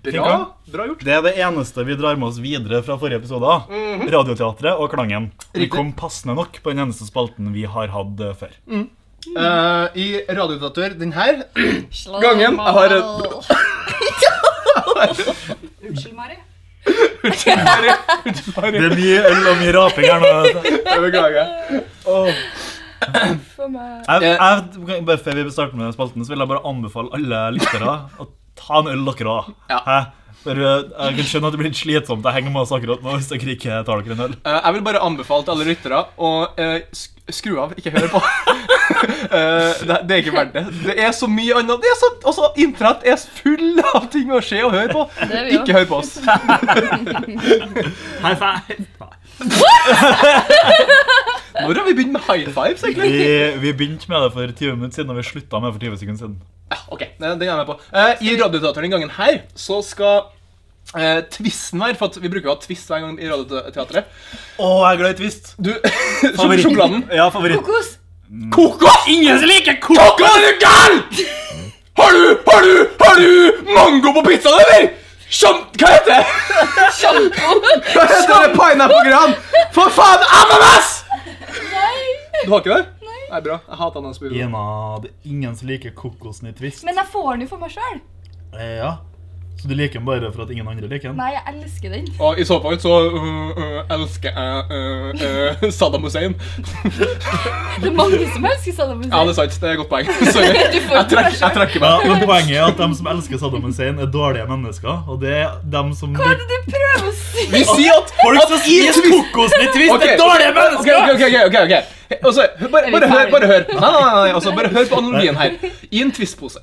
Speaker 2: bra.
Speaker 1: Tenk
Speaker 2: bra gjort.
Speaker 1: Det er det eneste vi drar med oss videre fra forrige episode. Mhm. Radioteatret og Klangen. Vi
Speaker 2: Riktig.
Speaker 1: kom passende nok på den eneste spalten vi har hatt eh, før.
Speaker 2: Eh, I Radioteater den her Gangen, jeg har et-
Speaker 4: Unnskyld, Mari.
Speaker 1: Det er mye øl og mye raping her nå. altså.
Speaker 2: Jeg beklager.
Speaker 3: For meg.
Speaker 1: Jeg, jeg, bare før vi starter med spalten, så vil jeg bare anbefale alle lyttere å ta en øl, dere òg.
Speaker 2: Ja.
Speaker 1: Hæ? For eh, Jeg kan skjønne at det blir litt slitsomt å henge med oss akkurat nå hvis dere ikke tar dere en øl.
Speaker 2: Eh, jeg vil bare anbefale til alle lyttere å eh, sk- skru av, ikke hør på. Eh, det, det er ikke verdt det. Det er så mye annet. Det er så, også Internett er full av ting å se og høre på.
Speaker 3: Det er vi jo.
Speaker 2: Ikke hør på oss.
Speaker 1: High five!
Speaker 2: Når har vi begynt med high fives, egentlig?
Speaker 1: Vi, vi begynte med det for 20 minutter siden, og vi slutta med det for 20 sekunder siden.
Speaker 2: Ja, ok, den den er jeg med på. Eh, I Radioteateren denne gangen her, så skal uh, tvisten være, for at vi bruker jo å ha tvist hver gang i Radioteatret.
Speaker 1: Å, jeg er glad i Twist.
Speaker 2: Du, sjokoladen.
Speaker 1: Ja, favoritt.
Speaker 3: Kokos!
Speaker 2: Kokos!
Speaker 1: Ingen som liker
Speaker 2: Kokos, er du gal? Har du, har du, har du mango på pizzaen, eller? Sjam... Hva heter det? Hva heter det pineapple-gran? For faen, ananas!
Speaker 3: Nei!
Speaker 2: Du har ikke det? Nei. Nei, bra. Jeg hater ananas på jorden.
Speaker 1: Ina, det er ingen som liker kokosen i Twist.
Speaker 3: Men jeg får den jo for meg sjøl.
Speaker 1: Eh, ja. Så du liker den bare for at ingen andre liker den?
Speaker 3: Nei, jeg elsker den.
Speaker 2: Og i så fall så øh, øh, elsker jeg øh, øh, Saddam Hussein.
Speaker 3: Det er mange som elsker Saddam
Speaker 2: Ja, det er
Speaker 3: Hussein.
Speaker 2: sant. Det er et godt poeng. Sorry.
Speaker 3: Du får
Speaker 2: Jeg, trekk, jeg trekker
Speaker 1: Ja,
Speaker 2: meg.
Speaker 1: men Poenget er at de som elsker Saddam Hussein, er dårlige mennesker. Og det er dem som
Speaker 3: Hva er det du prøver å si?
Speaker 2: Vi sier at
Speaker 1: Folk som
Speaker 2: at i
Speaker 1: spiser
Speaker 2: Twist-
Speaker 1: kokosen i Twist,
Speaker 2: Ok.
Speaker 1: er dårlige
Speaker 2: Ok,
Speaker 1: mennesker!
Speaker 2: ok, ok, ok, ok, ok. Og så, bare, bare hør, bare hør. Nei, nei, nei, nei. Altså, bare hør på analogien her. I en twistpose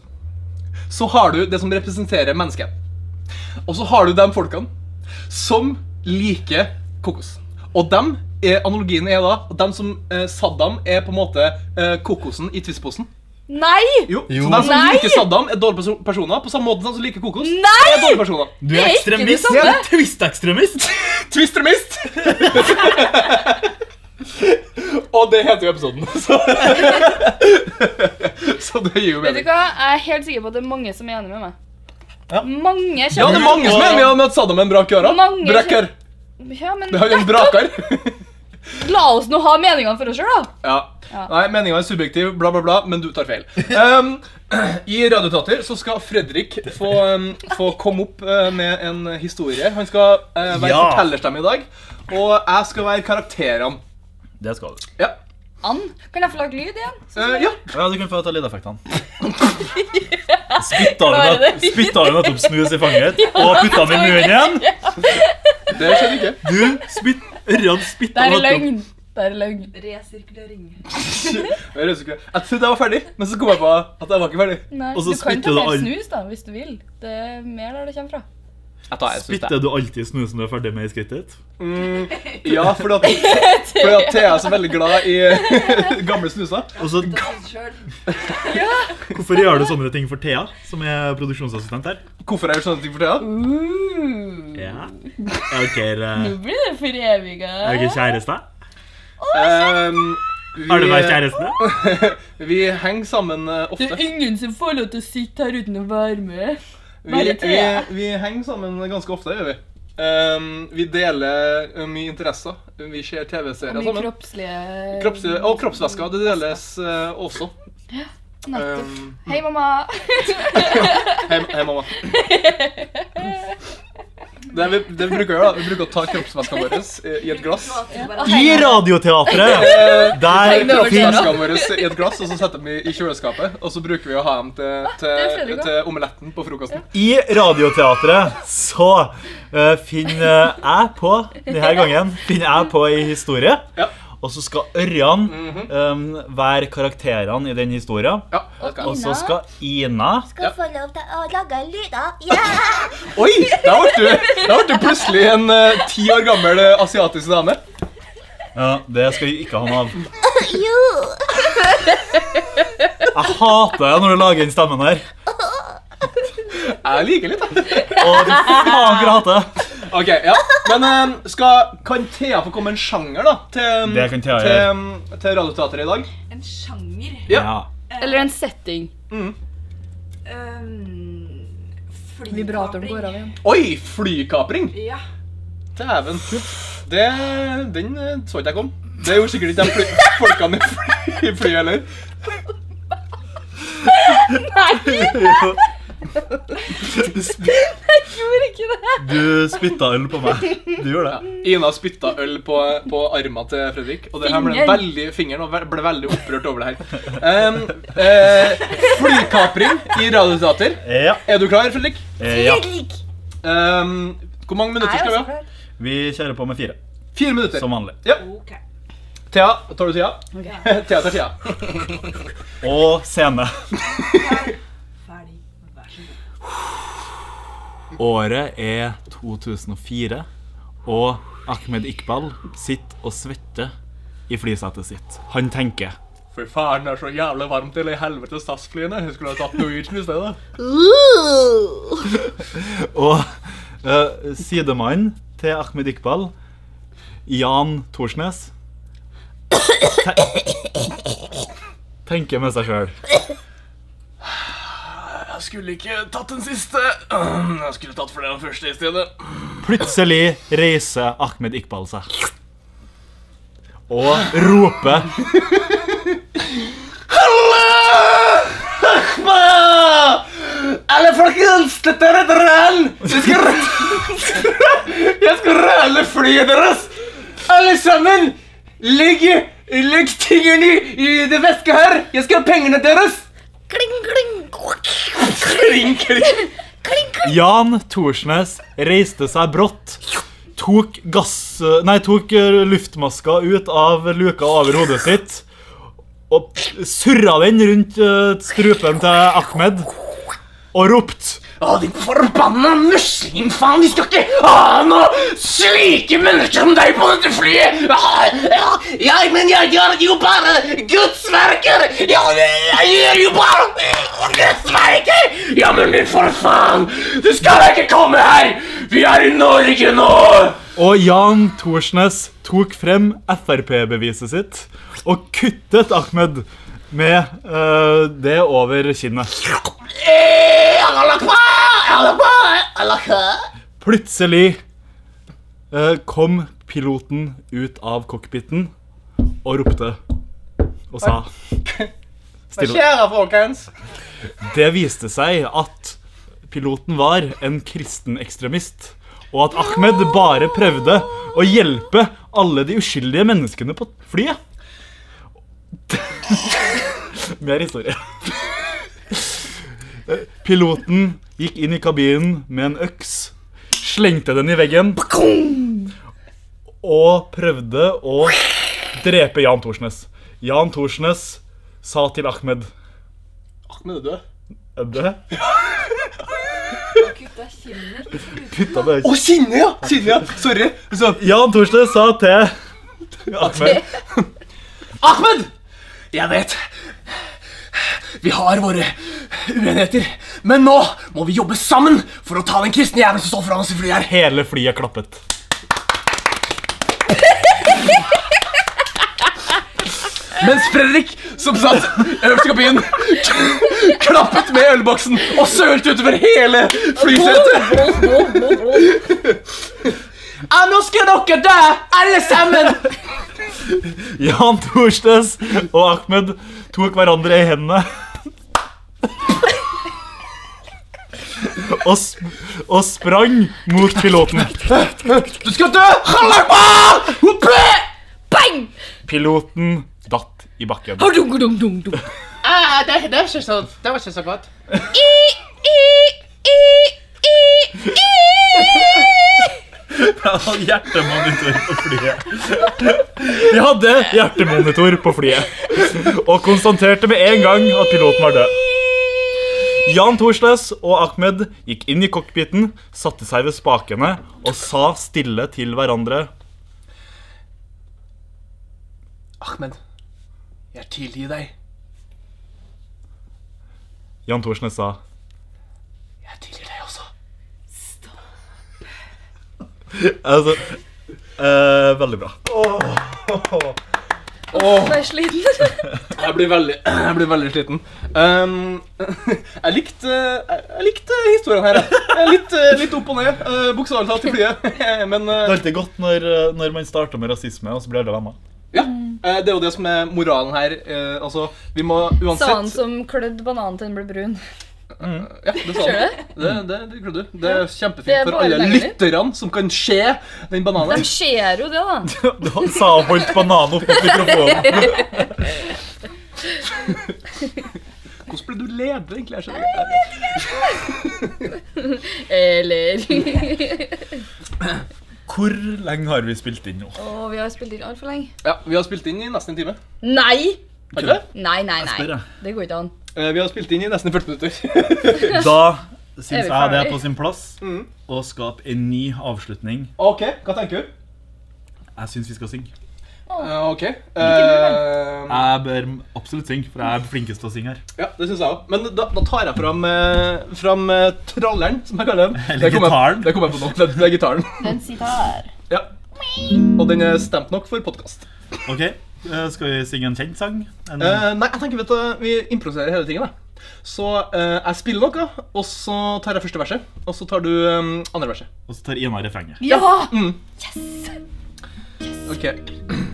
Speaker 2: så har du det som representerer mennesket. Og så har du de folkene som liker kokos. Og dem er, analogien er da at dem som eh, Saddam er på en måte eh, kokosen i twistposen.
Speaker 3: Nei!
Speaker 2: Jo,
Speaker 1: Jo.
Speaker 2: Så dem som
Speaker 3: Nei!
Speaker 2: liker Saddam, er dårlige perso- personer. På samme måte som de som liker kokos,
Speaker 3: Nei!
Speaker 2: er dårlige personer.
Speaker 1: Du
Speaker 3: Det
Speaker 1: er
Speaker 3: er ikke det
Speaker 1: ekstremist.
Speaker 3: samme.
Speaker 1: Du er Twist-ekstremist.
Speaker 2: Twistermist! Og det heter jo episoden, så Så det gir jo
Speaker 3: Vet du
Speaker 2: mening.
Speaker 3: hva? Jeg er helt sikker på at det er mange som er enig med meg.
Speaker 1: Ja.
Speaker 3: Mange
Speaker 2: Ja, det er
Speaker 3: kjenner
Speaker 2: mange som er enige om at Saddam er en brak i åra.
Speaker 3: Mange-
Speaker 2: Brekker.
Speaker 3: Ja, men
Speaker 2: Det er jo en brakar.
Speaker 3: la oss nå ha meningene for oss sjøl, da.
Speaker 2: Ja.
Speaker 3: Ja.
Speaker 2: Nei, meninga er subjektiv, bla, bla, bla, men du tar feil. Um, I Radiotater så skal Fredrik få, um, få komme opp uh, med en historie. Han skal uh, være
Speaker 1: Ja.
Speaker 2: fortellerstemme i dag, og jeg skal være karakterene.
Speaker 1: Det skal du.
Speaker 2: Ja.
Speaker 3: Ann, kan jeg få lage lyd igjen?
Speaker 2: Uh, ja.
Speaker 1: Ja, du kan få ta lydeffektene. Spytta du
Speaker 3: Hva er det?
Speaker 1: nett- spytta du nettopp snus i fanget og putta den i munnen igjen?
Speaker 2: Det skjedde ikke.
Speaker 1: Du spytt, Ørjan spytta
Speaker 3: Det er
Speaker 1: nettopp-
Speaker 3: løgn. Det er løgn.
Speaker 4: Resirkulering.
Speaker 2: Jeg, husker ikke. jeg trodde jeg var ferdig, men så kom jeg på at jeg var ikke ferdig.
Speaker 3: Nei,
Speaker 1: Og så
Speaker 3: du kan ta
Speaker 1: spytter du
Speaker 3: mer
Speaker 1: all-
Speaker 3: snus, da, hvis du vil. Det er mer der det kommer fra.
Speaker 2: Jeg tar, jeg synes det.
Speaker 1: Spytter du alltid snusen du er ferdig med i skrittet ditt?
Speaker 2: Ja, fordi at, fordi at Thea er så veldig glad i gamle snuser.
Speaker 1: Og så,
Speaker 4: Ta den selv.
Speaker 1: hvorfor gjør du sånne ting for Thea, som er produksjonsassistent her?
Speaker 2: Hvorfor har jeg gjort sånne ting for Thea?
Speaker 3: Uh,
Speaker 1: Ja. Er dere,
Speaker 3: Nå blir det foreviga.
Speaker 1: er dere kjæreste?
Speaker 2: Ehm, vi-
Speaker 1: Har du
Speaker 3: eh,
Speaker 1: vært kjæreste?
Speaker 2: Vi henger sammen eh,
Speaker 3: Det er
Speaker 2: ofte.
Speaker 3: ingen som får lov til å sitte her uten å være med.
Speaker 2: Vi,
Speaker 3: bare
Speaker 2: vi,
Speaker 3: Thea.
Speaker 2: vi henger sammen ganske ofte, gjør vi. Ehm, vi deler eh, mye interesser. Vi ser TV-serier
Speaker 3: Mye
Speaker 2: sammen.
Speaker 3: kroppslige
Speaker 2: Altså, Kropps, og kroppsvæsker. Det deles eh, også.
Speaker 3: Nettopp.
Speaker 2: Ehm,
Speaker 3: Hei, mamma.
Speaker 2: Hei, hei mamma. Det vi, det vi bruker å gjøre, da, vi bruker å ta kroppsvæskene våre eh, i et glass.
Speaker 1: I Radioteatret!
Speaker 2: Eh,
Speaker 1: Der
Speaker 3: Nei, det var
Speaker 1: finnes
Speaker 2: Flaskene våre i et glass, og så setter vi dem i kjøleskapet. Og så bruker vi å ha dem til,
Speaker 3: er
Speaker 2: til,
Speaker 3: Fredrik også.
Speaker 2: til omeletten på frokosten.
Speaker 1: I Radioteatret så eh, finner jeg på denne gangen finner jeg på ei historie.
Speaker 2: Ja.
Speaker 1: Og så skal Ørjan
Speaker 3: Mm.
Speaker 2: Mhm.
Speaker 1: eh, være karakterene i den historien.
Speaker 2: Ja, det skal
Speaker 1: Og
Speaker 2: jeg.
Speaker 1: så skal Ina
Speaker 2: Ja.
Speaker 6: skal få lov til å lage lyder. Yeah!
Speaker 2: Oi! Der ble du, der ble du plutselig en eh, ti år gammel eh, asiatisk dame.
Speaker 1: Ja, Det skal vi ikke ha noe av.
Speaker 6: Jo!
Speaker 1: Jeg hater det når du lager den stemmen her.
Speaker 2: Jeg liker litt, da.
Speaker 1: Og du faen hvor jeg hater det.
Speaker 2: Ok, ja. Men eh, skal, kan Thea få komme med en sjanger da, til,
Speaker 1: Det kan Thea
Speaker 2: til, um, til Radioteatret i dag?
Speaker 4: En sjanger.
Speaker 2: Ja.
Speaker 3: Eller en setting.
Speaker 4: Um, flykapring.
Speaker 3: Vibratoren går av igjen.
Speaker 2: Oi! Flykapring!
Speaker 4: Ja.
Speaker 2: Dæven. Det, den eh, så ikke jeg kom. Det gjorde sikkert ikke de fly, folkene i fly- i flyet heller.
Speaker 3: Nei!
Speaker 1: Ja. Du, sp-
Speaker 3: Jeg gjorde ikke det!
Speaker 1: du spytta øl på meg. Du gjorde det.
Speaker 2: Ina spytta øl på, på armene til Fredrik, og det her ble
Speaker 3: Fingeren.
Speaker 2: veldig, fingeren og ve- ble veldig opprørt over det her. Um, eh, flykapring i radioteater.
Speaker 1: Ja.
Speaker 2: Er du klar, Fredrik?
Speaker 1: Eh, ja.
Speaker 6: Fredrik!
Speaker 2: Um, hvor mange minutter
Speaker 3: altså,
Speaker 2: skal vi ha?
Speaker 1: Vi kjører på med fire,
Speaker 2: Fire minutter.
Speaker 1: som vanlig.
Speaker 2: Ja.
Speaker 4: Ok.
Speaker 2: Thea, tar du tida? Thea tar tida.
Speaker 1: Og scene.
Speaker 4: Ferdig. Vær så god.
Speaker 7: Året er 2004, og Ahmed Iqbal sitter og svetter i flysetet sitt. Han tenker
Speaker 2: Fy faen, det er så jævlig varmt i de helvetes SAS-flyene. Jeg skulle ha tatt Norwegian i stedet.
Speaker 1: Og eh, sidemannen til Ahmed Iqbal, Jan Thorsnes, te tenker med seg sjøl.
Speaker 2: Jeg skulle ikke tatt den siste. Jeg skulle tatt flere av den første i stedet.
Speaker 1: Plutselig reiser Ahmed Iqbal seg. Og roper
Speaker 2: Alle folkens, dette er et ran! Jeg skal, jeg skal rane flyet deres! Alle sammen! Legg, legg tingene i det veska her! Jeg skal ha pengene deres!
Speaker 6: Kling, kling.
Speaker 2: Kling, kling.
Speaker 1: Jan Thorsnes reiste seg brått, tok, gass, nei, tok eh, luftmaska ut av luka over hodet sitt og surra den rundt eh, strupen til Ahmed og ropte
Speaker 2: Å, din forbanna muslimfaen! De skal ikke ha noe slike mennesker som deg på dette flyet! Ah, Ja, jeg, men jeg gjør jo bare gudsverker! Ja, jeg gjør jo bare gudsverker! Ja, men din for faen! Du skal ikke komme her! Vi er i Norge nå!
Speaker 1: Og Jan Thorsnes tok frem Frp-beviset sitt og kuttet Ahmed med eh, det over kinnet. Plutselig eh, kom piloten ut av cockpiten og ropte og sa Stille.
Speaker 2: Kjære folkens!
Speaker 1: Det viste seg at piloten var en kristen ekstremist, og at Ahmed bare prøvde å hjelpe alle de uskyldige menneskene på flyet. Mer historie. Piloten gikk inn i kabinen med en øks, slengte den i veggen og prøvde å drepe Jan Thorsnes. Jan Thorsnes sa til Ahmed
Speaker 2: Ahmed er død.
Speaker 1: Er det?
Speaker 3: Gutta kinner.
Speaker 1: Putta det
Speaker 2: Å, Sinne, ja! Sinne, ja. Sorry. Så,
Speaker 1: Jan Thorsnes sa til Ahmed
Speaker 2: Ahmed! Jeg vet. Vi har våre uenigheter. Men nå må vi jobbe sammen for å ta den kristne jævelen som står foran oss i flyet her.
Speaker 1: Hele flyet klappet.
Speaker 2: Mens Fredrik, som satt øverst i kabinen, klappet med ølboksen og sølte utover hele flysetet. Ja, nå skal dere dø, alle sammen!
Speaker 1: Jan Thorsnes og Ahmed tok hverandre i hendene. Og, sp og sprang mot piloten.
Speaker 2: Du skal dø! Halakbar! Hoppe!
Speaker 1: Piloten datt i bakken.
Speaker 2: Ah, det, det, er ikke så, det var ikke så godt.
Speaker 1: Hjertemonitor på flyet. De hadde hjertemonitor på flyet og konstaterte med en gang at piloten var død. Jan Thorsnes og Ahmed gikk inn i cockpiten, satte seg ved spakene og sa stille til hverandre
Speaker 2: Ahmed, jeg tilgir deg.
Speaker 1: Jan Thorsnes sa
Speaker 2: Jeg tilgir deg også.
Speaker 1: altså, eh, Veldig bra.
Speaker 3: Jeg er sliten.
Speaker 2: Jeg blir veldig, jeg blir veldig sliten. Ehm, jeg likte jeg likte historien her. jeg. Jeg er Litt, eh, litt opp og ned, eh, bokstavelig talt, i flyet. Men
Speaker 1: Det er
Speaker 2: eh,
Speaker 1: alltid godt når, når man starter med rasisme, og så blir alle venner.
Speaker 2: ja, eh, det er jo det som er moralen her. eh, Altså, vi må
Speaker 3: Sa han
Speaker 2: uansett
Speaker 3: som klødde bananen til den ble brun.
Speaker 2: Ja, det sa
Speaker 3: Ser
Speaker 2: han. Det, det, det, gjorde du. det er
Speaker 3: Det er
Speaker 2: kjempefint for
Speaker 3: bare
Speaker 2: alle
Speaker 3: deilig.
Speaker 2: lytterne som kan se den
Speaker 3: De
Speaker 2: bananen.
Speaker 3: ser jo det, da.
Speaker 1: Han sa og holdt banan opp mot mikrofonen.
Speaker 2: Hvordan ble du leder, egentlig? Jeg skjønner ikke.
Speaker 3: Eller
Speaker 1: Hvor lenge har vi spilt inn nå?
Speaker 3: Å, vi har spilt inn altfor lenge.
Speaker 2: Ja, vi har spilt inn i nesten en time.
Speaker 3: Nei!
Speaker 2: Har vi det?
Speaker 3: Nei, nei,
Speaker 1: spør,
Speaker 3: nei.
Speaker 1: jeg.
Speaker 3: Det går ikke an.
Speaker 2: Eh, Vi har spilt inn i nesten 40 minutter.
Speaker 1: Da
Speaker 3: Er vi
Speaker 1: syns jeg det er
Speaker 3: ferdig? Mm.
Speaker 1: på sin plass å skape en ny avslutning.
Speaker 2: OK, hva tenker du?
Speaker 1: Jeg syns vi skal synge.
Speaker 2: Eh, OK. Eh,
Speaker 1: Jeg bør absolutt synge, for jeg er flinkest til å synge her.
Speaker 2: Ja, det syns jeg òg. Men da, da tar jeg fram, eh, fram eh, tralleren, som jeg kaller den.
Speaker 1: Eller
Speaker 2: Det kom jeg-
Speaker 1: gitaren.
Speaker 2: Det kom jeg på nå. Det, det er gitaren.
Speaker 3: Den sitar.
Speaker 2: Ja. Og den er stemt nok for podkast.
Speaker 1: Ok, eh, Skal vi synge en kjent sang? En,
Speaker 2: Eh, nei, jeg tenker vet du, vi improviserer hele tingen. da. Så eh, jeg spiller noe, og så tar jeg første verset. Og så tar du eh, andre verset.
Speaker 1: og så tar Ina refrenget.
Speaker 3: Ja!
Speaker 2: Ok.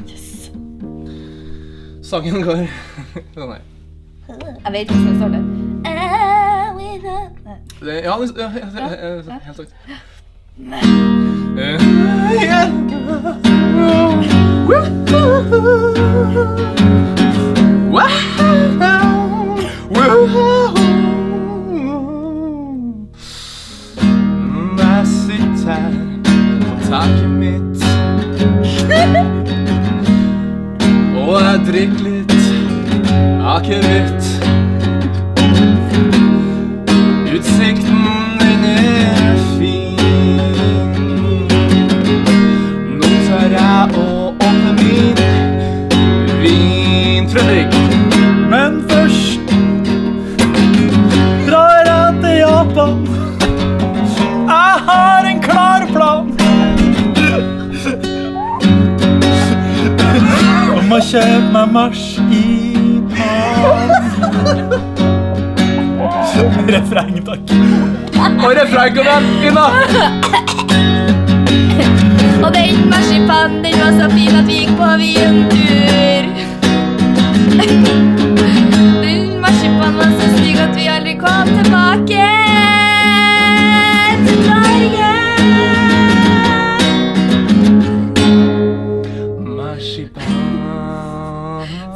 Speaker 2: Sangen går sånn her.
Speaker 3: Jeg vet hvordan den starter.
Speaker 6: I will up.
Speaker 2: Det- Ja, det- ja, ja, ja, ja, ja, helt sagt. Eh, ja. Jeg sitter her på taket mitt Og jeg drikker litt akevitt Utsikten den er fin Nå tar jeg og åpner min vin Fredrik
Speaker 1: Men først drar jeg til Japan. Jeg har en klar plan. Om å kjøpe meg marsipan. Refreng, takk.
Speaker 2: Og refreng kom igjen, Ina
Speaker 3: Og den marsipanen, den var så fin at vi gikk på vintur. Den marsipanen var så stygg at vi aldri kom tilbake til Norge.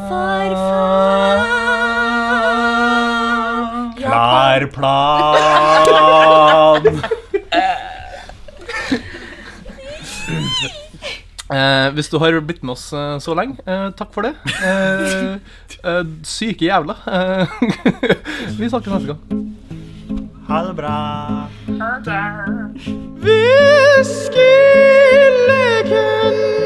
Speaker 6: For faen.
Speaker 1: Klar plan.
Speaker 2: Eh, hvis du har blitt med oss eh, så lenge, eh, takk for det. Eh, eh, syke jævla. Eh, vi snakkes neste gang.
Speaker 1: Ha det bra.
Speaker 2: Viskeleken